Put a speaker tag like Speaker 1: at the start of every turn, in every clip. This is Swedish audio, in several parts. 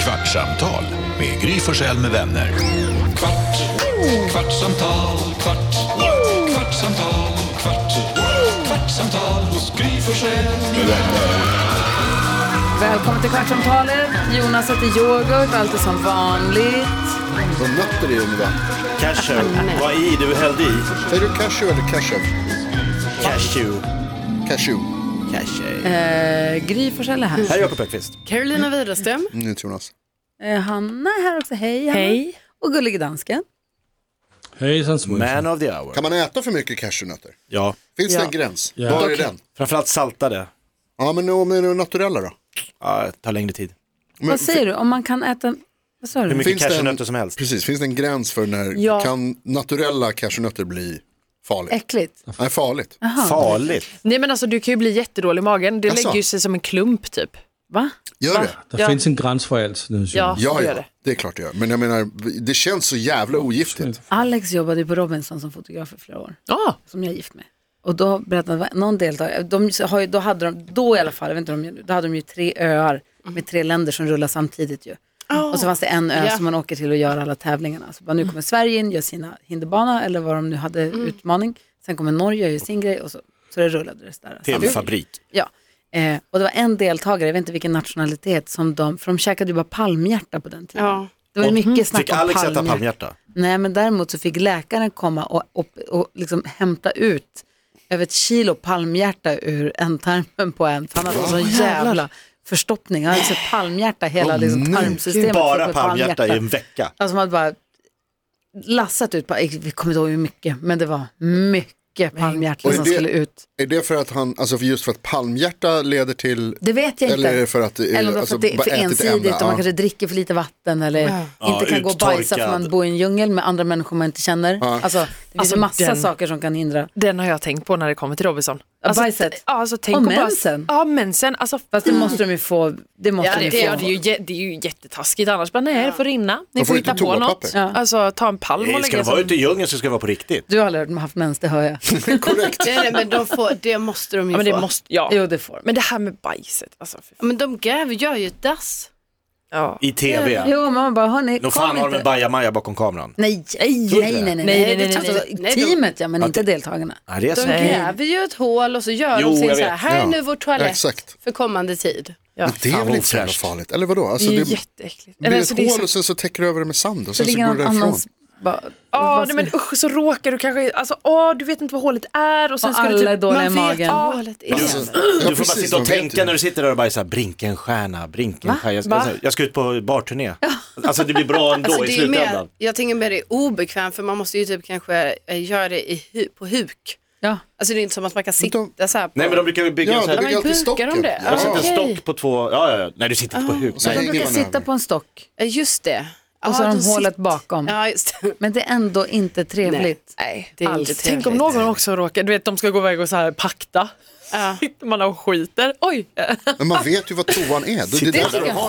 Speaker 1: Kvartsamtal med Gry Forssell med vänner. Kvart, kvartsamtal, kvart, kvartsamtal, kvart, kvartsamtal hos Gry Forssell med vänner.
Speaker 2: Välkommen till Kvartsamtalet. Jonas äter yoghurt, allt är som vanligt.
Speaker 3: Vad nötter det är under vatten.
Speaker 4: Cashew.
Speaker 5: Mm.
Speaker 4: Vad i du hällde i?
Speaker 3: Säger du cashew eller cashew?
Speaker 4: Cashew.
Speaker 3: Cashew.
Speaker 4: Cashew.
Speaker 2: Eh, Gry Forssell är här.
Speaker 4: Här är Jakob Högqvist.
Speaker 6: Carolina Widerström.
Speaker 3: Nu Mm, Jonas.
Speaker 2: Eh, Hanna är här också. Hej, Hanna.
Speaker 6: Hej.
Speaker 2: Och Gullige Dansken.
Speaker 7: Hejsan svejsan.
Speaker 4: Man of the hour.
Speaker 3: Kan man äta för mycket cashewnötter?
Speaker 4: Ja.
Speaker 3: Finns det
Speaker 6: Ja.
Speaker 3: en gräns?
Speaker 7: Ja.
Speaker 3: Var är
Speaker 7: Okej.
Speaker 3: den?
Speaker 4: Framförallt saltade.
Speaker 3: Ja, men om det är naturella då?
Speaker 4: Ja, det tar längre tid.
Speaker 2: Vad säger du? Om man kan äta... Vad sa
Speaker 4: Hur
Speaker 2: du?
Speaker 4: mycket
Speaker 3: Finns det en-
Speaker 4: cashewnötter som helst.
Speaker 3: Precis, finns det en gräns för när
Speaker 6: Ja.
Speaker 3: kan naturella cashewnötter bli farligt?
Speaker 2: Äckligt.
Speaker 3: Nej, farligt.
Speaker 4: Ah, Farligt.
Speaker 6: Nej men alltså du kan ju bli jättedålig i magen. Det
Speaker 3: Jaså?
Speaker 6: lägger ju sig som en klump typ.
Speaker 2: Va?
Speaker 3: Gör det?
Speaker 7: Det
Speaker 6: Ja.
Speaker 7: finns en gräns för allt nu.
Speaker 6: Ja,
Speaker 7: Ja.
Speaker 3: Mm. Ja,
Speaker 6: det gör
Speaker 3: ja,
Speaker 6: det.
Speaker 3: det är klart det gör. Men jag menar, det känns så jävla ogiftigt.
Speaker 2: Alex jobbade ju på Robinson som fotograf i flera år.
Speaker 6: Ja,
Speaker 2: Som jag är gift med. Och då berättade någon deltagare, de har ju, då hade de, då i alla fall, jag vet inte om de gör nu, då hade de ju tre öar med tre länder som rullar samtidigt ju. Och så fanns det en ö
Speaker 6: Ja.
Speaker 2: som man åker till och gör alla tävlingarna. Så bara, nu kommer Sverige in, gör sina hinderbana eller vad de nu hade
Speaker 6: Mm.
Speaker 2: utmaning. Sen kommer Norge och gör sin grej och så, så det rullade det där.
Speaker 4: TV-fabrik.
Speaker 2: Ja. Eh, och det var en deltagare, jag vet inte vilken nationalitet, som de, för de käkade ju bara palmhjärta på den tiden.
Speaker 6: Ja.
Speaker 2: Det var ju mycket snack
Speaker 4: Fick
Speaker 2: om
Speaker 4: Alex äta
Speaker 2: palmhjärta.
Speaker 4: palmhjärta?
Speaker 2: Nej, men däremot så fick läkaren komma och, och, och liksom hämta ut över ett kilo palmhjärta ur ändtarmen på en. För han hade en sån jävla förstoppning. Han hade sett palmhjärta hela liksom, tarmsystemet.
Speaker 4: Bara
Speaker 2: fullt med
Speaker 4: palmhjärta i en vecka.
Speaker 2: Alltså man hade bara lassat ut, pal- vi kommer inte ihåg hur mycket, men det var mycket palmhjärta
Speaker 3: Och är
Speaker 2: som
Speaker 3: det-
Speaker 2: skulle ut.
Speaker 3: Är det för att han, alltså för just för att palmhjärta leder till,
Speaker 2: Det vet jag
Speaker 3: eller är det
Speaker 2: inte.
Speaker 3: för att, eh,
Speaker 2: Eller om det var för
Speaker 3: alltså,
Speaker 2: att det är för
Speaker 3: bara ätit ett ämne?
Speaker 2: ensidigt och man
Speaker 3: Ja.
Speaker 2: kanske dricker för lite vatten eller inte
Speaker 4: Ja,
Speaker 2: kan gå och bajsa för
Speaker 4: uttorkad.
Speaker 2: man bor i en djungel med andra människor man inte känner. Alltså, det finns
Speaker 6: Alltså,
Speaker 2: ju massa
Speaker 6: den-
Speaker 2: saker som kan hindra.
Speaker 6: Den har jag tänkt på när det kommer till Robinson.
Speaker 2: bajset?
Speaker 6: t- Ja, alltså, tänk
Speaker 2: Och
Speaker 6: att bara-
Speaker 2: mensen?
Speaker 6: Ja, mensen. Alltså,
Speaker 2: Fast det måste de ju få. Det måste
Speaker 6: ja,
Speaker 2: de
Speaker 6: det,
Speaker 2: ju få.
Speaker 6: ja, det, är ju, jä- det är ju jättetaskigt annars. Bara, nej, det får rinna. Ni
Speaker 3: Man
Speaker 6: får,
Speaker 3: får
Speaker 6: hitta
Speaker 3: inte
Speaker 6: på något.
Speaker 3: toapapper.
Speaker 6: Alltså ta en palm och
Speaker 4: Nej, Ska det
Speaker 6: lägga
Speaker 4: vara
Speaker 6: sig.
Speaker 4: ute i djungeln så ska det vara på riktigt.
Speaker 2: Du har aldrig hört dem haft mens, det hör jag.
Speaker 3: Korrekt.
Speaker 5: Nej, nej men de får, det måste de ju
Speaker 6: Ja, men
Speaker 5: få.
Speaker 6: det måste, ja.
Speaker 2: jo, det får de.
Speaker 6: Men det här med bajset, alltså. För,
Speaker 5: Ja, men de gräver, gör ju ett dass.
Speaker 6: ja.
Speaker 4: I TV.
Speaker 2: Jo, men man bara, hörni,
Speaker 4: Nog fan
Speaker 2: kom
Speaker 4: har de
Speaker 2: inte.
Speaker 4: en bajamaja bakom kameran.
Speaker 2: Nej, nej, nej, nej, nej, nej,
Speaker 5: nej, nej,
Speaker 2: Alltså,
Speaker 5: nej, nej, nej.
Speaker 2: Teamet, ja, men inte deltagarna.
Speaker 4: Nej, det är
Speaker 5: De
Speaker 4: så.
Speaker 6: Eh.
Speaker 5: gräver ju ett hål och så gör
Speaker 4: Jo,
Speaker 5: de
Speaker 4: jag
Speaker 5: sin så här,
Speaker 4: vet.
Speaker 5: här är
Speaker 3: Ja.
Speaker 5: nu vår toalett
Speaker 3: Exakt.
Speaker 5: för kommande tid.
Speaker 6: Ja.
Speaker 3: Det är
Speaker 4: Fan,
Speaker 3: väl
Speaker 4: vad
Speaker 3: inte så jävla
Speaker 4: ofräscht.
Speaker 3: farligt, eller vadå? Alltså,
Speaker 6: Det är ju
Speaker 3: det
Speaker 6: jätteäckligt.
Speaker 3: blir ett
Speaker 6: Alltså, det är så-
Speaker 3: hål och sen så täcker du över det med sand och
Speaker 2: Det
Speaker 3: sen så
Speaker 2: ligger
Speaker 3: går det
Speaker 2: någon
Speaker 3: därifrån.
Speaker 2: annans... Bara,
Speaker 6: Ja,
Speaker 2: vad
Speaker 6: nej,
Speaker 2: ska-
Speaker 6: men usch, så råkar du kanske, alltså åh, du vet inte vad hålet är och sen
Speaker 2: Och
Speaker 6: ska du
Speaker 2: alla är
Speaker 6: typ...
Speaker 2: dåliga i
Speaker 6: Man vet-
Speaker 2: magen.
Speaker 6: Ja, hålet är...
Speaker 3: Alltså, ja,
Speaker 4: Du får bara
Speaker 3: precis,
Speaker 4: sitta och
Speaker 3: man vet ju.
Speaker 4: tänka när du sitter där och bajsar, Brinkenstierna, Brinkenstierna. Jag,
Speaker 6: Va?
Speaker 4: ska- jag ska ut på barturné. Alltså det blir bra ändå i
Speaker 5: det är ju
Speaker 4: slutändan.
Speaker 5: mer, jag tänker mer det är obekvämt för man måste ju typ kanske eh, göra det i, hu- på huk.
Speaker 2: Ja.
Speaker 5: Alltså det är inte som att man kan sitta
Speaker 3: de-
Speaker 5: så här på.
Speaker 4: Nej men de brukar ju bygga
Speaker 3: Ja,
Speaker 4: en sån
Speaker 3: det
Speaker 4: här,
Speaker 3: blir alltid
Speaker 5: brukar
Speaker 3: stocken.
Speaker 5: de det?
Speaker 4: jag sätter en
Speaker 5: okej.
Speaker 4: stock på två, ja ja, ja. nej du sitter inte på huk.
Speaker 3: så
Speaker 4: Nej.
Speaker 2: De
Speaker 3: hänger
Speaker 2: brukar
Speaker 3: man
Speaker 2: sitta
Speaker 3: över.
Speaker 2: på en stock
Speaker 5: Ja, just det.
Speaker 2: och så
Speaker 5: Ja,
Speaker 2: har de
Speaker 5: då
Speaker 2: hålet
Speaker 5: sitter-
Speaker 2: bakom.
Speaker 5: Ja, just
Speaker 6: Alltså,
Speaker 5: det.
Speaker 2: Men det är ändå inte trevligt.
Speaker 5: Nej, det är
Speaker 2: Allt.
Speaker 5: inte
Speaker 2: Tänk
Speaker 5: trevligt.
Speaker 6: Tänk om någon också råkar, du vet de ska gå iväg och så här pakta.
Speaker 5: Ja.
Speaker 6: Sitter man och skiter, oj.
Speaker 3: Men man vet ju vad toan är. Det, det, det
Speaker 4: tycker
Speaker 2: Nu
Speaker 3: har en
Speaker 4: jag.
Speaker 2: har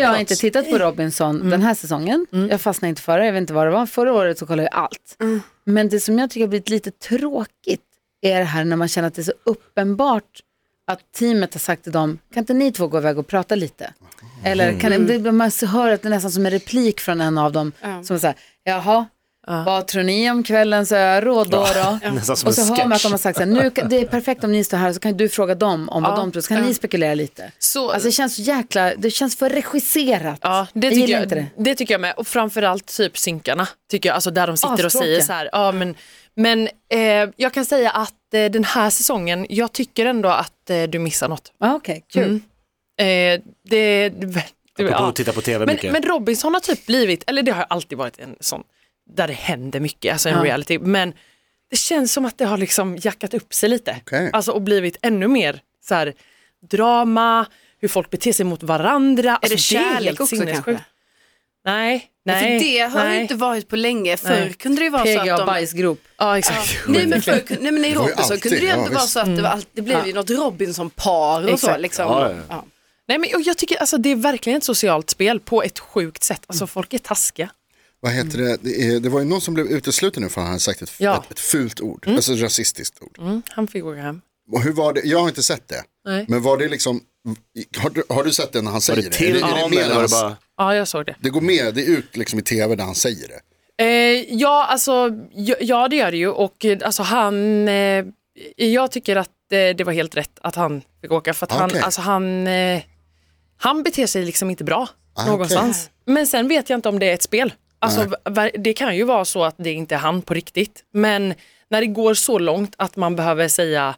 Speaker 2: jag
Speaker 3: plats.
Speaker 2: inte tittat på Robinson
Speaker 4: Mm.
Speaker 2: den här säsongen. Jag fastnade inte förra, jag vet inte vad det var. Förra året så kollade jag allt.
Speaker 4: Mm.
Speaker 2: Men det som jag tycker har blivit lite tråkigt är det här när man känner att det är så uppenbart att teamet har sagt till dem, kan inte ni två gå iväg och prata lite?
Speaker 4: Mm.
Speaker 2: Eller kan ni, det- man hör att det är nästan som en replik från en av dem som är så här, jaha, vad tror ni om kvällens öråd då? då?
Speaker 4: Nästan som
Speaker 2: Och så
Speaker 4: en
Speaker 2: hör man att de har
Speaker 4: sketch.
Speaker 2: sagt så här, nu, kan- det är perfekt om ni står här så kan du fråga dem om vad de tror, så kan ni spekulera lite.
Speaker 6: Så-
Speaker 2: alltså det känns så jäkla, det känns för regisserat.
Speaker 6: Ja, det
Speaker 2: jag
Speaker 6: tycker
Speaker 2: gillar
Speaker 6: jag,
Speaker 2: inte det.
Speaker 6: det tycker jag med. Och framförallt typ synkarna, tycker jag, alltså där de sitter och
Speaker 2: Astråkiga.
Speaker 6: säger så här. Ja, men men eh, jag kan säga att eh, den här säsongen, jag tycker ändå att eh, du missar något.
Speaker 2: Ah, Okej, kul.
Speaker 6: Mm. Eh, det, du,
Speaker 4: Apropå att titta på TV
Speaker 6: men,
Speaker 4: mycket.
Speaker 6: men Robinson har typ blivit, eller det har alltid varit en sån, där det händer mycket, alltså en
Speaker 2: Ja.
Speaker 6: reality, men det känns som att det har liksom jackat upp sig lite.
Speaker 3: Okej.
Speaker 6: Alltså och blivit ännu mer så här, drama, hur folk beter sig mot varandra.
Speaker 5: Är
Speaker 6: alltså,
Speaker 5: det kärlek
Speaker 6: helt
Speaker 5: också
Speaker 6: sinnessjukt.
Speaker 5: kanske?
Speaker 6: Nej, nej.
Speaker 5: För det har
Speaker 6: nej.
Speaker 5: ju inte varit på länge. Förr
Speaker 6: Nej.
Speaker 5: kunde det ju vara så
Speaker 2: PGA
Speaker 5: att de...
Speaker 2: bajsgrop.
Speaker 6: Ja, exakt.
Speaker 5: Nej men, för, nej, men i
Speaker 3: var ju
Speaker 5: Robinson
Speaker 3: alltid,
Speaker 5: kunde det ju
Speaker 3: ja,
Speaker 5: ändå vara
Speaker 3: visst. Mm.
Speaker 5: så att det, var allt, det blev ju något Robinson-par och så
Speaker 2: Exakt.
Speaker 5: liksom.
Speaker 4: Ja, ja.
Speaker 5: Ja.
Speaker 6: Nej, men, och jag tycker alltså, det är verkligen ett socialt spel på ett sjukt sätt. Alltså folk är taskiga.
Speaker 3: Vad heter det? Det, är, det var ju någon som blev utesluten nu för han hade sagt ett,
Speaker 6: Ja.
Speaker 3: ett, ett fult ord. Alltså ett rasistiskt ord.
Speaker 6: Han fick gå hem.
Speaker 3: Och hur var det? Jag har inte sett det.
Speaker 6: Nej.
Speaker 3: Men var det liksom, har du, har du sett det när han
Speaker 4: Var
Speaker 3: säger
Speaker 4: det
Speaker 3: det? Eller
Speaker 4: till
Speaker 3: är det
Speaker 4: honom
Speaker 3: medan
Speaker 4: eller var det
Speaker 3: han-
Speaker 4: bara?
Speaker 6: Ja, jag såg det.
Speaker 3: Det går med, det är ut liksom i tv där han säger det.
Speaker 6: Eh, ja, alltså, ja, ja, det gör det ju. Och eh, alltså, han, eh, jag tycker att eh, det var helt rätt att han fick åka. För att han,
Speaker 3: Okej.
Speaker 6: alltså, han, eh, han beter sig liksom inte bra
Speaker 3: Ah,
Speaker 6: någonstans. Men sen vet jag inte om det är ett spel. Alltså, ver- det kan ju vara så att det inte är han på riktigt. Men när det går så långt att man behöver säga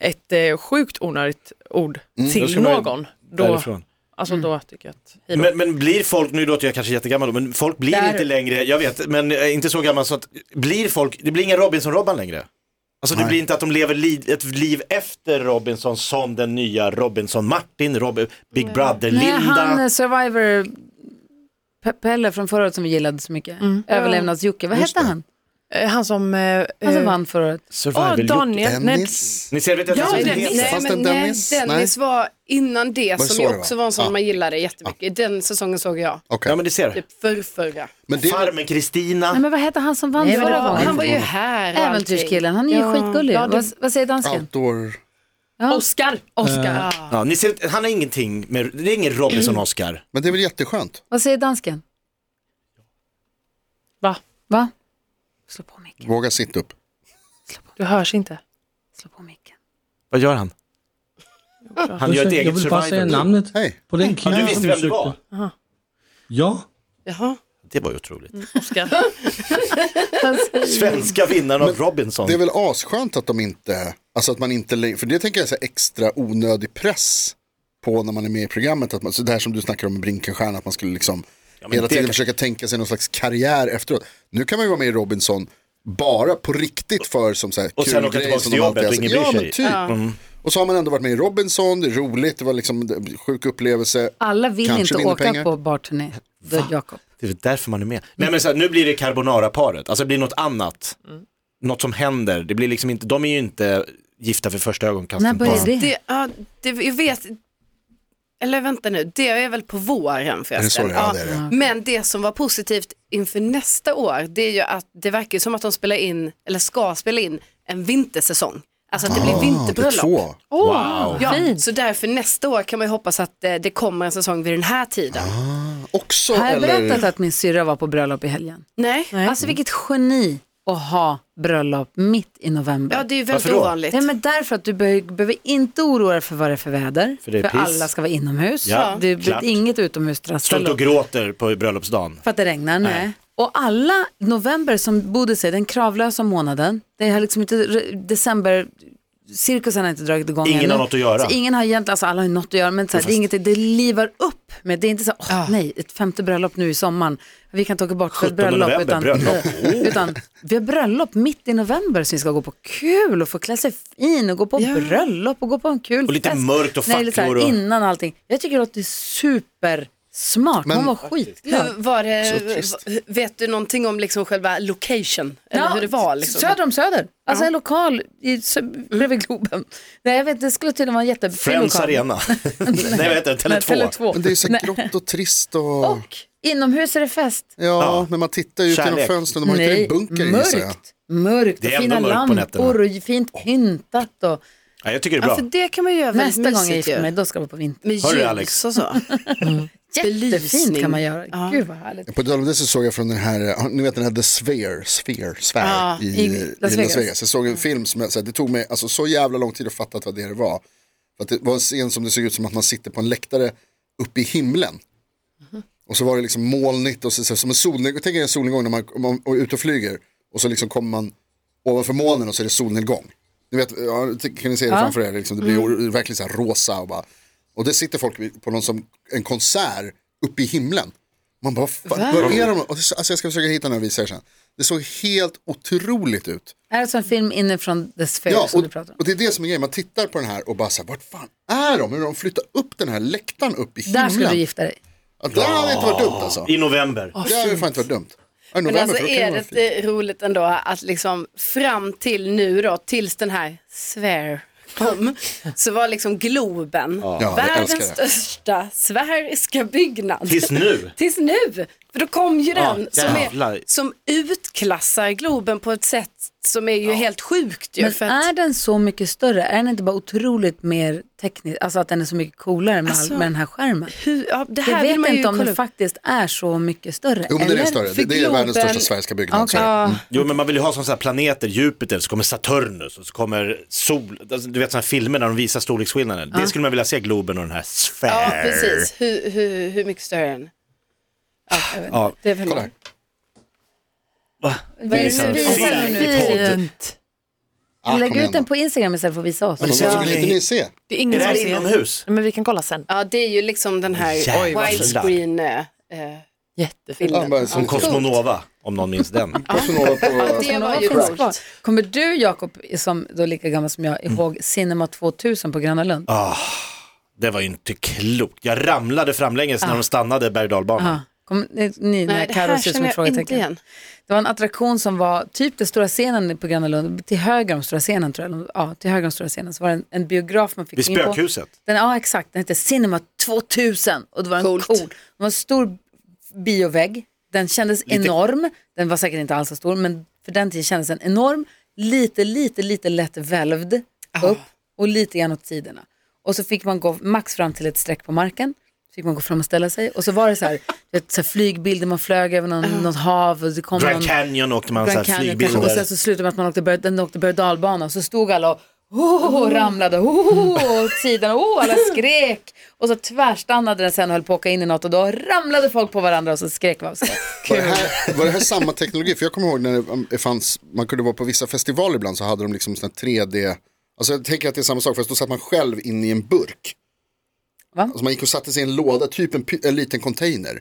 Speaker 6: ett eh, sjukt onödigt ord
Speaker 4: Mm. Då
Speaker 6: till
Speaker 4: ska man ju
Speaker 6: någon, då,
Speaker 4: Därifrån.
Speaker 6: alltså,
Speaker 2: Mm.
Speaker 6: då tycker jag att hej då.
Speaker 4: Men, men blir folk, nu låter jag kanske jättegammal då, men folk blir
Speaker 2: Där.
Speaker 4: inte längre, jag vet, men jag är inte så gammal så att, blir folk, det blir ingen Robinson-Robban längre? Alltså det blir inte att de lever li, ett liv efter Robinson som den nya Robinson-Martin, Robin, Big
Speaker 2: Nej, han eh,
Speaker 4: Brother-Linda.
Speaker 2: survivor Pe- Pelle från förra året som vi gillade så mycket. Överlevnads-Jocke. Vad hette han?
Speaker 6: Eh, Han som... Eh,
Speaker 2: Han som
Speaker 6: eh,
Speaker 2: vann förra året.
Speaker 6: Åh,
Speaker 4: Survival Jocke.
Speaker 6: Daniel. Nej,
Speaker 3: Dennis.
Speaker 4: Ni ser, vet jag
Speaker 5: Ja,
Speaker 4: inte ens vad den heter.
Speaker 5: Dennis. Nej,
Speaker 3: Fast
Speaker 5: men
Speaker 3: en Dennis?
Speaker 5: Dennis, Dennis var innan det
Speaker 3: Var det
Speaker 5: som
Speaker 3: så
Speaker 5: ju
Speaker 3: det
Speaker 5: också
Speaker 3: var?
Speaker 5: var en sån
Speaker 3: Ja.
Speaker 5: man gillade jättemycket. Den säsongen såg jag,
Speaker 3: Okej.
Speaker 4: Ja men det ser.
Speaker 5: typ förrförra.
Speaker 3: men det,
Speaker 4: Farmen Kristina.
Speaker 2: Nej, men vad hette han som vann
Speaker 6: Nej, men det
Speaker 2: förra
Speaker 6: var-
Speaker 2: gången?
Speaker 5: Han var ju här och allting.
Speaker 2: Äventyrskillen. Han är ju skitgullig.
Speaker 6: ja, det-
Speaker 2: Vad, vad säger dansken?
Speaker 3: outdoor.
Speaker 2: Ja.
Speaker 6: Oscar. Oscar.
Speaker 4: Ja, ni ser, han har ingenting med, det är ingen Robinson-Oscar.
Speaker 3: Men det är väl jätteskönt?
Speaker 2: Vad säger dansken?
Speaker 6: Va?
Speaker 2: Va? Slå på micken.
Speaker 3: Våga sitta upp.
Speaker 6: Du hörs inte.
Speaker 2: Slå på micken.
Speaker 4: Vad gör han? Han gör ett
Speaker 7: Jag
Speaker 4: eget
Speaker 7: vill bara säga
Speaker 4: survival.
Speaker 7: namnet
Speaker 3: Hej.
Speaker 7: på den
Speaker 4: Ja, du
Speaker 7: killen som
Speaker 4: visste vem det
Speaker 7: besökte.
Speaker 4: var.
Speaker 7: Ja,
Speaker 5: Jaha.
Speaker 4: Det var ju otroligt.
Speaker 6: Oscar.
Speaker 4: Svenska vinnaren av Robinson.
Speaker 3: Det är väl asskönt att de inte, alltså att man inte, lä- för det tänker jag är så här extra onödig press på när man är med i programmet. Att man, så det här som du snackar om med Brinkenstierna, att man skulle liksom
Speaker 4: men
Speaker 3: hela
Speaker 4: det
Speaker 3: tiden
Speaker 4: kan-
Speaker 3: försöka tänka sig någon slags karriär efteråt. Nu kan man ju vara med i Robinson bara på riktigt för som så här
Speaker 4: Och
Speaker 3: kul
Speaker 4: sen åka
Speaker 3: grej
Speaker 4: tillbaka
Speaker 3: som
Speaker 4: till
Speaker 3: de alltid
Speaker 4: jobbet och
Speaker 3: har
Speaker 4: ingen
Speaker 3: sagt.
Speaker 4: bryr
Speaker 3: Ja, men typ.
Speaker 4: sig. Mm.
Speaker 3: Och så har man ändå varit med i Robinson, det är roligt, det var liksom en sjuk upplevelse.
Speaker 2: Alla vill
Speaker 3: Kanske
Speaker 2: inte
Speaker 3: vinner
Speaker 2: åka
Speaker 3: pengar.
Speaker 2: på barturné. Då, Jakob.
Speaker 4: Det är därför man är med. Nej men så här, nu blir det carbonara-paret, alltså det blir något annat.
Speaker 2: Mm.
Speaker 4: Något som händer, det blir liksom inte, de är ju inte gifta för första
Speaker 2: När
Speaker 4: ögonkastet.
Speaker 2: börjar
Speaker 4: bara.
Speaker 2: det?
Speaker 5: Det, ja, det, jag vet, eller vänta nu, det är väl på våren förresten.
Speaker 3: Är det så det är? Ja, det är det.
Speaker 2: Mm.
Speaker 5: Men det som var positivt inför nästa år, det är ju att det verkar ju som att de spelar in, eller ska spela in, en vintersäsong. Alltså att det blir
Speaker 3: Ah, det är
Speaker 5: vinterbröllop.
Speaker 3: två.
Speaker 4: Wow.
Speaker 5: Ja, så därför nästa år kan man ju hoppas att eh, det kommer en säsong vid den här tiden.
Speaker 3: Ah. Också
Speaker 2: Har jag berättat
Speaker 3: eller?
Speaker 2: att min syrra var på bröllop i helgen?
Speaker 5: Nej.
Speaker 2: Alltså vilket geni att ha bröllop mitt i november.
Speaker 5: Ja, det är ju väldigt
Speaker 4: Varför då?
Speaker 5: ovanligt.
Speaker 2: Nej, men därför att du be- behöver inte oroa dig för vad det är för väder.
Speaker 4: För det är piss.
Speaker 2: alla ska vara inomhus.
Speaker 4: Ja,
Speaker 2: det blir
Speaker 4: klart.
Speaker 2: inget
Speaker 4: Står
Speaker 2: utomhustrassel.
Speaker 4: inte och gråter på bröllopsdagen.
Speaker 2: För att det regnar, nej. Och alla november som bodde sig, den kravlösa månaden, det har liksom inte, re- december, cirkusen har inte dragit igång
Speaker 4: Ingen
Speaker 2: ännu.
Speaker 4: har något att göra.
Speaker 2: Så ingen har egentligen, alltså alla har ju något att göra, men så här, det, är inget, det livar upp. Men det är inte så, åh nej, ett femte bröllop nu i sommaren, vi kan inte åka bort för ett
Speaker 4: 17
Speaker 2: bröllop.
Speaker 4: november,
Speaker 2: utan,
Speaker 4: bröllop.
Speaker 2: utan vi har bröllop mitt i november som vi ska gå på kul och få klä sig fin och gå på bröllop och gå på en kul
Speaker 4: Och lite
Speaker 2: fest.
Speaker 4: mörkt och
Speaker 2: nej, lite så här,
Speaker 4: facklor och-
Speaker 2: Innan allting. Jag tycker att det är supersmart, hon
Speaker 3: Men-
Speaker 2: var skitglad.
Speaker 5: Hur Eh, var det, vet du någonting om liksom själva location? Eller hur det var? Liksom? Mm.
Speaker 2: Söder om Söder. Alltså en lokal i, sö- bredvid Globen. Nej, jag vet, det skulle tydligen vara en jättefin
Speaker 4: Friends
Speaker 2: lokal.
Speaker 4: Arena. Nej vad heter det?
Speaker 2: Nej,
Speaker 4: Tele2.
Speaker 2: Tele2.
Speaker 5: Mm.
Speaker 3: Men det är så här grått och trist och...
Speaker 2: Och inomhus är det fest.
Speaker 3: Ja, men man tittar ju ut genom
Speaker 4: Kärlek.
Speaker 3: fönstren, de har ju inte en bunker gissar jag.
Speaker 2: mörkt. Mörkt och
Speaker 4: Det är ändå
Speaker 2: fina
Speaker 4: mörkt på nätterna.
Speaker 2: lampor och fint pyntat. Och
Speaker 4: Ja, jag tycker det är bra.
Speaker 5: Alltså det kan man ju göra väldigt
Speaker 2: nästa gång jag
Speaker 5: mysigt ju.
Speaker 2: gifter mig, då ska vi på vinter.
Speaker 5: Med ljus
Speaker 4: Hörru, Alex.
Speaker 5: och så.
Speaker 2: Jättefint
Speaker 5: Belysning.
Speaker 2: kan man göra.
Speaker 5: Ja.
Speaker 2: Gud vad härligt.
Speaker 3: På tal om det så såg jag från den här, ah, ni vet den här The Sphere, Sphere, Sphere
Speaker 5: Ja,
Speaker 3: i,
Speaker 2: i
Speaker 3: i,
Speaker 2: Las
Speaker 3: Las
Speaker 2: Vegas. Mm.
Speaker 3: Vegas. Jag såg en film som, jag- så här, det tog mig alltså, så jävla lång tid att fatta att vad det var. För att det var en scen som det såg ut som att man sitter på en läktare uppe i himlen. Och så var det liksom molnigt och så, så, som en solnedgång, tänk er en solnedgång när man, om man och är ute och flyger. Och så liksom kommer man ovanför molnen och så är det solnedgång. Ni vet, ja, t- kan ni se det framför er, liksom, det blir
Speaker 2: Mm.
Speaker 3: or- verkligen så här rosa och bara. Och det sitter folk vid- på någon som, en konsert uppe i himlen. Man bara, vad fan, var är de? Och det, alltså jag ska försöka hitta den och visa er sen. Det såg helt otroligt ut.
Speaker 2: Är det som en film inifrån The Sphere
Speaker 3: Ja,
Speaker 2: som
Speaker 3: och,
Speaker 2: du pratar om?
Speaker 3: och det är det som är grejen, man tittar på den här och bara så här, vart fan är de? Hur har de flyttat upp den här läktaren upp i himlen?
Speaker 2: Där skulle du gifta dig.
Speaker 3: Ja, där hade det inte varit dumt alltså.
Speaker 4: I november.
Speaker 3: Det hade fan inte varit dumt. Ja, i
Speaker 5: Men
Speaker 3: november,
Speaker 5: alltså
Speaker 3: för då kan
Speaker 5: är
Speaker 3: vara
Speaker 5: det
Speaker 3: fint.
Speaker 5: inte roligt ändå att liksom fram till nu då, tills den här svär kom, så var liksom Globen
Speaker 3: jag älskar
Speaker 5: världens
Speaker 3: det.
Speaker 5: största sfäriska byggnad.
Speaker 4: Tills nu.
Speaker 5: Tills nu. För då kom ju
Speaker 4: Ja,
Speaker 5: den som,
Speaker 4: jävlar.
Speaker 5: är, som utklassar Globen på ett sätt som är ju helt sjukt. Ju,
Speaker 2: Men
Speaker 5: för att,
Speaker 2: är den så mycket större? Är den inte bara otroligt mer teknisk, alltså att den är så mycket coolare med, all-
Speaker 5: Alltså,
Speaker 2: med den här skärmen?
Speaker 5: hur, ja, det här
Speaker 2: Jag
Speaker 5: vill
Speaker 2: vet
Speaker 5: man ju
Speaker 2: inte om
Speaker 5: kolla
Speaker 2: den
Speaker 5: upp.
Speaker 2: faktiskt är så mycket större.
Speaker 3: Jo men den är
Speaker 2: eller?
Speaker 3: större, det,
Speaker 2: För
Speaker 3: det är världens
Speaker 2: Globen-
Speaker 3: största svenska byggnad. Mm,
Speaker 2: Okej.
Speaker 3: så är det.
Speaker 4: Jo men man vill ju ha som så här planeter, Jupiter, så kommer Saturnus och så kommer sol, alltså, du vet sådana filmer när de visar storleksskillnaden. Det skulle man vilja se Globen och den här sfär.
Speaker 5: Ja, precis. Hur, hur, hur mycket större är den?
Speaker 4: Ja.
Speaker 5: Det är väl
Speaker 3: Kolla här.
Speaker 2: Vad är det
Speaker 4: Visar-
Speaker 2: som visar
Speaker 4: Fint.
Speaker 2: nu?
Speaker 6: Fint.
Speaker 3: Ah, kom
Speaker 2: Lägg
Speaker 3: igen
Speaker 2: ut den
Speaker 3: då.
Speaker 2: på Instagram istället för att visa oss.
Speaker 3: Men så vill inte ni se.
Speaker 6: Det är
Speaker 4: Är
Speaker 6: ingen
Speaker 4: det
Speaker 6: som
Speaker 4: här
Speaker 6: ser.
Speaker 4: inomhus?
Speaker 6: Men vi kan kolla sen.
Speaker 5: Ja, det är ju liksom den här
Speaker 4: Oj, vad
Speaker 5: widescreen eh,
Speaker 6: Jättefint.
Speaker 3: Ja,
Speaker 5: bilden.
Speaker 3: bara så
Speaker 4: Som
Speaker 3: lite-
Speaker 4: Cosmonova, om någon minns den.
Speaker 3: Cosmonova på...
Speaker 5: Det var
Speaker 2: Vad
Speaker 5: ju
Speaker 2: finns kvar?
Speaker 5: coolt.
Speaker 2: Kommer du Jakob, som då är lika gammal som jag, ihåg
Speaker 3: Mm.
Speaker 2: Cinema 2000 på Gröna Lund?
Speaker 4: Det var ju inte klokt. Jag ramlade framlänges när de stannade berg och dalbanan.
Speaker 2: Ja. Ah. Kom, ni, ni
Speaker 5: Nej,
Speaker 2: när
Speaker 5: det här
Speaker 2: Carro ser ut som
Speaker 5: känner
Speaker 2: ett
Speaker 5: jag inte
Speaker 2: frågetecken.
Speaker 5: igen.
Speaker 2: Det var en attraktion som var typ den stora scenen på Gröna Lund, till höger om stora scenen tror jag. Ja, till höger om stora scenen så var det en, en biograf man fick
Speaker 4: Vid
Speaker 2: in på.
Speaker 4: spökhuset.
Speaker 2: Den, ja exakt, den hette Cinema 2000 och det var en
Speaker 5: Coolt.
Speaker 2: cool. Det var en stor biovägg, den kändes enorm, den var säkert inte alls så stor men för den tiden kändes den enorm, lite, lite, lite lätt välvd upp och lite grann åt sidorna. Och så fick man gå max fram till ett streck på marken, så fick man gå fram och ställa sig och så var det så här, du vet, så här flygbilder, man flög över någon, något hav och det kom någon...
Speaker 4: Grand Canyon åkte man så Alltså här
Speaker 2: Grand Canyon kanske, och sen så
Speaker 4: flygbilder.
Speaker 2: slutade med att man åkte, berg- den åkte berg dalbana så stod alla och oh,
Speaker 4: Mm.
Speaker 2: och ramlade oh, åt sidan och oh, alla skrek. Och så tvärstannade den sen och höll på att åka in i något och då ramlade folk på varandra och så skrek vi av sig.
Speaker 3: Var det, här, var det här samma teknologi? För jag kommer ihåg när det, um, det fanns, man kunde vara på vissa festivaler ibland så hade de liksom sån här 3D, alltså jag tänker att det är samma sak fast då satt man själv in i en burk.
Speaker 2: Va?
Speaker 3: Alltså man gick och satte sig i en låda, typ en, py- en liten container.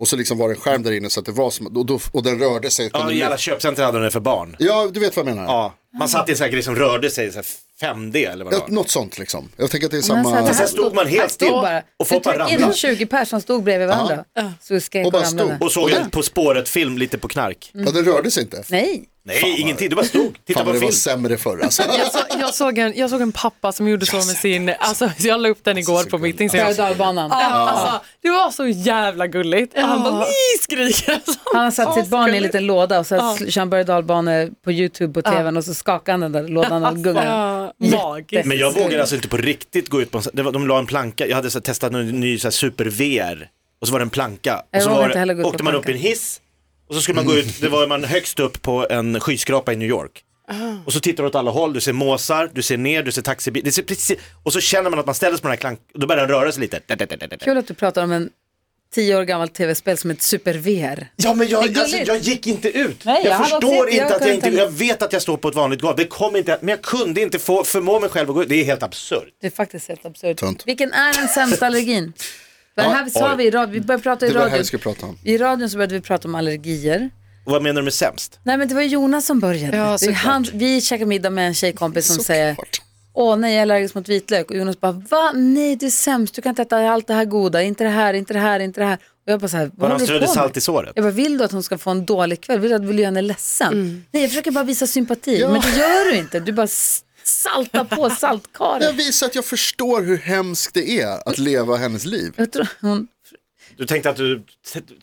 Speaker 3: Och så liksom var det en skärm där inne så att det var som, och, då, och den rörde sig.
Speaker 4: Ja, i alla köpcenter hade de det för barn.
Speaker 3: ja, du vet vad jag menar.
Speaker 4: Ja. Man satt i en sån här grej som rörde sig, så här 5D eller vad det
Speaker 3: Ja,
Speaker 4: var.
Speaker 3: Något sånt liksom. Jag tänker att det är
Speaker 2: Men så
Speaker 3: samma.
Speaker 2: det
Speaker 4: Sen stod man helt
Speaker 2: här stod
Speaker 4: still
Speaker 2: bara,
Speaker 4: och
Speaker 2: vi
Speaker 4: folk bara
Speaker 2: tog in
Speaker 4: ramlade.
Speaker 2: 20 personer som stod bredvid varandra. Så skrek
Speaker 3: Och
Speaker 2: och,
Speaker 3: bara
Speaker 2: ramlade.
Speaker 3: stod.
Speaker 4: Och såg
Speaker 3: Och
Speaker 4: en
Speaker 3: där.
Speaker 4: På spåret-film lite på knark.
Speaker 3: Ja, den rörde sig inte.
Speaker 2: Nej,
Speaker 4: Nej, ingenting. Du bara stod. Titta
Speaker 3: Fan
Speaker 4: på
Speaker 3: vad det var
Speaker 4: film.
Speaker 3: sämre förr alltså.
Speaker 6: Jag, så, jag, såg en, jag såg en pappa som gjorde så med sin, alltså jag la upp den igår på mitt Instagram.
Speaker 2: berg dalbanan.
Speaker 6: Ja, Alltså, det var så jävla gulligt. Och han bara, ni skriker. Alltså.
Speaker 2: Han har satt sitt barn i en liten låda och så
Speaker 6: Ja.
Speaker 2: sl- kör han berg och dalbana på YouTube på tvn och så skakar han den där lådan
Speaker 4: Alltså.
Speaker 2: och gungar.
Speaker 6: Ja, Magiskt.
Speaker 4: Men jag vågade alltså inte på riktigt gå ut på en sån- det var, De la en planka, jag hade så här, testat en ny så här, super-VR och så var det en planka. Och
Speaker 2: Jag
Speaker 4: så
Speaker 2: vågar
Speaker 4: var
Speaker 2: inte heller gå ut
Speaker 4: det,
Speaker 2: på
Speaker 4: åkte man upp i
Speaker 2: plankan.
Speaker 4: en hiss och så skulle man gå ut, det var man högst upp på en skyskrapa i New York.
Speaker 2: Ah.
Speaker 4: Och så tittar du åt alla håll, du ser måsar, du ser ner, du ser taxibilar, det ser precis, och så känner man att man ställer sig på den här plankan, då börjar den röra sig lite.
Speaker 2: Kul att du pratar om en tio år gammalt tv-spel som ett super-VR.
Speaker 4: Ja men jag, alltså,
Speaker 2: gulligt.
Speaker 4: jag gick inte ut.
Speaker 2: Nej, jag
Speaker 4: jag
Speaker 2: hade
Speaker 4: förstår
Speaker 2: också- jag
Speaker 4: inte att jag
Speaker 2: kunde
Speaker 4: inte,
Speaker 2: inte-
Speaker 4: jag vet att jag står på ett vanligt golv, det kom inte, men jag kunde inte få, förmå mig själv att gå ut, det är helt absurt.
Speaker 2: Det är faktiskt helt absurt.
Speaker 3: Tönt.
Speaker 2: Vilken är den sämsta allergin? Det här sa
Speaker 4: oj.
Speaker 2: vi i radio, vi började prata i
Speaker 3: Det var det här vi
Speaker 2: radion.
Speaker 3: skulle prata om.
Speaker 2: I radion så började vi prata om allergier.
Speaker 4: Och vad menar du med sämst?
Speaker 2: Nej men det var Jonas som började.
Speaker 5: Ja,
Speaker 2: det är
Speaker 5: såklart.
Speaker 2: han, vi käkade middag med en tjejkompis som säger,
Speaker 3: Såklart.
Speaker 2: åh nej jag är allergisk mot vitlök. Och Jonas bara, va? Nej du är sämst, du kan inte äta allt det här goda, inte det här, inte det här, inte det här. Och jag bara så här, vad
Speaker 4: Bara
Speaker 2: håller
Speaker 4: han
Speaker 2: du
Speaker 4: strödde
Speaker 2: på med?
Speaker 4: salt i såret.
Speaker 2: Jag bara, vill du att hon ska få en dålig kväll? Vill du att vill du göra henne ledsen? Nej, jag försöker bara visa sympati. Men det gör du inte. Du bara s- saltar på
Speaker 3: Jag
Speaker 2: saltkaren.
Speaker 3: visar att jag förstår hur hemskt det är att leva hennes liv.
Speaker 2: Jag tror hon...
Speaker 4: Du tänkte att du,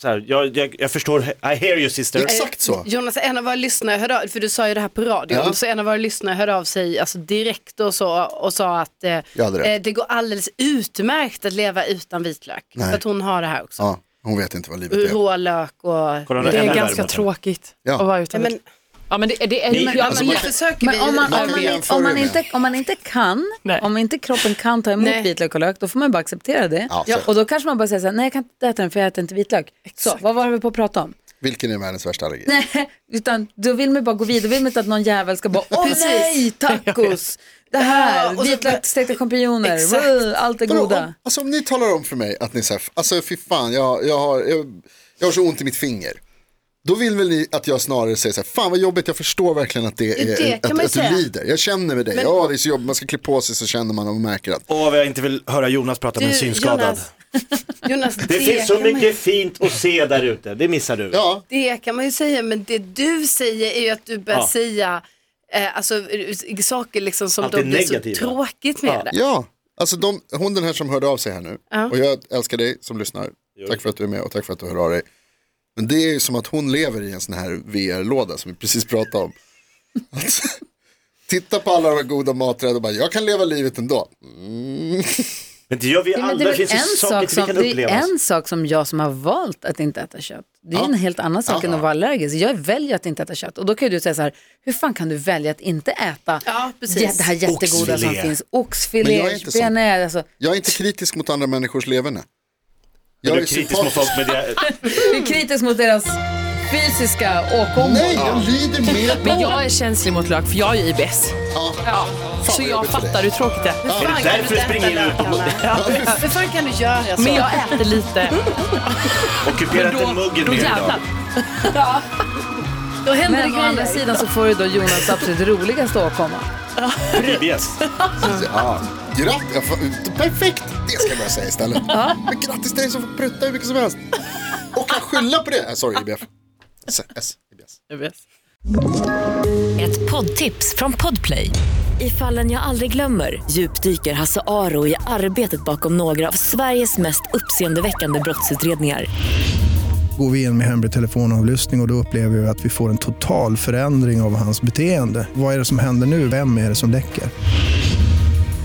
Speaker 4: så här, jag, jag, jag förstår, I hear you sister.
Speaker 3: Exakt så.
Speaker 5: Jonas, en av våra lyssnare hörde av, för du sa ju det här på radion,
Speaker 3: Ja.
Speaker 5: så en av våra lyssnare hörde av sig alltså, direkt och, så, och sa att eh,
Speaker 3: Jag hade rätt.
Speaker 5: eh, det går alldeles utmärkt att leva utan vitlök.
Speaker 3: Nej.
Speaker 5: För att hon har det här också.
Speaker 3: Ja, hon vet inte vad livet är.
Speaker 5: Rålök och...
Speaker 4: Kolla, ännu
Speaker 6: Det är
Speaker 4: värre
Speaker 6: ganska
Speaker 4: mot den.
Speaker 6: tråkigt
Speaker 3: Ja.
Speaker 6: att vara utan
Speaker 5: Nej, men,
Speaker 6: vitlök. Ja, men det, det är ju...
Speaker 4: Ni-
Speaker 6: ja,
Speaker 5: alltså,
Speaker 6: men-
Speaker 5: nu försöker
Speaker 2: Men om man,
Speaker 3: Man
Speaker 2: om,
Speaker 3: kan
Speaker 2: man, inte-
Speaker 3: jämföra
Speaker 2: om, man
Speaker 3: med.
Speaker 2: inte, om man inte kan,
Speaker 6: Nej.
Speaker 2: om inte kroppen kan ta emot
Speaker 5: Nej.
Speaker 2: vitlök och lök, då får man bara acceptera det.
Speaker 3: Ja, så.
Speaker 2: och då kanske man bara säger så här, nej jag kan inte äta den för jag äter inte vitlök. Så, vad var vi på att prata om?
Speaker 3: Vilken är världens värsta allergi?
Speaker 2: Nej, utan då vill man bara gå vidare, då vill man inte att någon jävel ska bara, åh nej, tacos, det här,
Speaker 5: Ja, och så-
Speaker 2: vitlök, stekta champinjoner,
Speaker 5: Exakt.
Speaker 2: wow, allt det
Speaker 3: Vadå,
Speaker 2: goda.
Speaker 3: om, alltså om ni talar om för mig att ni säger, alltså fy fan, jag, jag, har, jag, jag har så ont i mitt finger. Då vill väl ni att jag snarare säger så här, fan vad jobbigt, jag förstår verkligen att det är,
Speaker 5: Det kan man
Speaker 3: att,
Speaker 5: ju
Speaker 3: att du
Speaker 5: säga.
Speaker 3: lider. Jag känner med dig, ja det är så jobbigt, man ska klä på sig så känner man och märker att,
Speaker 4: Åh, vad jag inte vill höra Jonas prata med en synskadad.
Speaker 5: Jonas, Jonas det,
Speaker 4: det finns så
Speaker 5: kan man, ju-
Speaker 4: mycket fint att se där ute, det missar du.
Speaker 3: ja,
Speaker 5: det kan man ju säga, men det du säger är ju att du börjar
Speaker 4: Ja.
Speaker 5: säga eh, alltså, eh, saker liksom som
Speaker 4: Allt
Speaker 5: då
Speaker 4: det
Speaker 5: blir så
Speaker 4: negativa.
Speaker 5: tråkigt med det.
Speaker 3: ja. Alltså de, hon den här som hörde av sig här nu, och jag älskar dig som lyssnar, tack för att du är med och tack för att du hör av dig. Men det är ju som att hon lever i en sån här VR-låda som vi precis pratade om. Alltså, titta på alla de här goda maträdena och bara, jag kan leva livet ändå.
Speaker 4: Men det gör vi
Speaker 2: Ja,
Speaker 4: alla,
Speaker 2: men
Speaker 4: det,
Speaker 2: det är väl
Speaker 4: finns ju
Speaker 2: en
Speaker 4: saker
Speaker 2: sak,
Speaker 4: som, vi
Speaker 2: som,
Speaker 4: kan
Speaker 2: det
Speaker 4: uppleva.
Speaker 2: är en sak som jag som har valt att inte äta kött. Det är en helt annan sak än att vara allergisk. Jag väljer att inte äta kött. Och då kan ju du säga så här, hur fan kan du välja att inte äta
Speaker 5: Ja, precis.
Speaker 2: jä- det här jättegoda som
Speaker 4: Oxfilé.
Speaker 2: finns?
Speaker 3: Men
Speaker 2: Oxfilé,
Speaker 3: jag är inte sån.
Speaker 2: benä, alltså,
Speaker 3: Jag är inte kritisk mot andra människors leverne.
Speaker 4: Jag
Speaker 3: Jag
Speaker 4: är kritisk mot folk med det.
Speaker 2: du är kritisk mot deras fysiska åkommor.
Speaker 3: Nej, jag lider med
Speaker 6: Men
Speaker 3: dem.
Speaker 6: jag är känslig mot lök för jag är ju IBS.
Speaker 3: Ja. Fan,
Speaker 6: Så
Speaker 3: vad
Speaker 6: jag
Speaker 3: jobbigt för dig.
Speaker 6: fattar hur tråkigt det är.
Speaker 4: Är det därför du springer ut och
Speaker 5: Hur fan kan du göra så?
Speaker 6: Men jag äter lite.
Speaker 4: ockuperar inte muggen
Speaker 6: då
Speaker 4: mer
Speaker 6: jävlar.
Speaker 4: idag?
Speaker 5: då händer
Speaker 2: Men å andra sidan så får du då Jonas absolut roligaste åkomma.
Speaker 4: IBS.
Speaker 3: Ja. Alltså, Grattis, jag får- perfekt! Det ska jag börja säga istället. Men grattis till dig som får prutta hur mycket som helst. Och kan skylla på det. Äh, Sorry, IBF. S, S, IBS.
Speaker 8: Ett poddtips från Podplay. I fallen jag aldrig glömmer djupdyker Hasse Aro i arbetet bakom några av Sveriges mest uppseendeväckande brottsutredningar.
Speaker 9: Går vi in med hemlig telefonavlyssning och, och då upplever vi att vi får en total förändring av hans beteende. Vad är det som händer nu? Vem är det som läcker?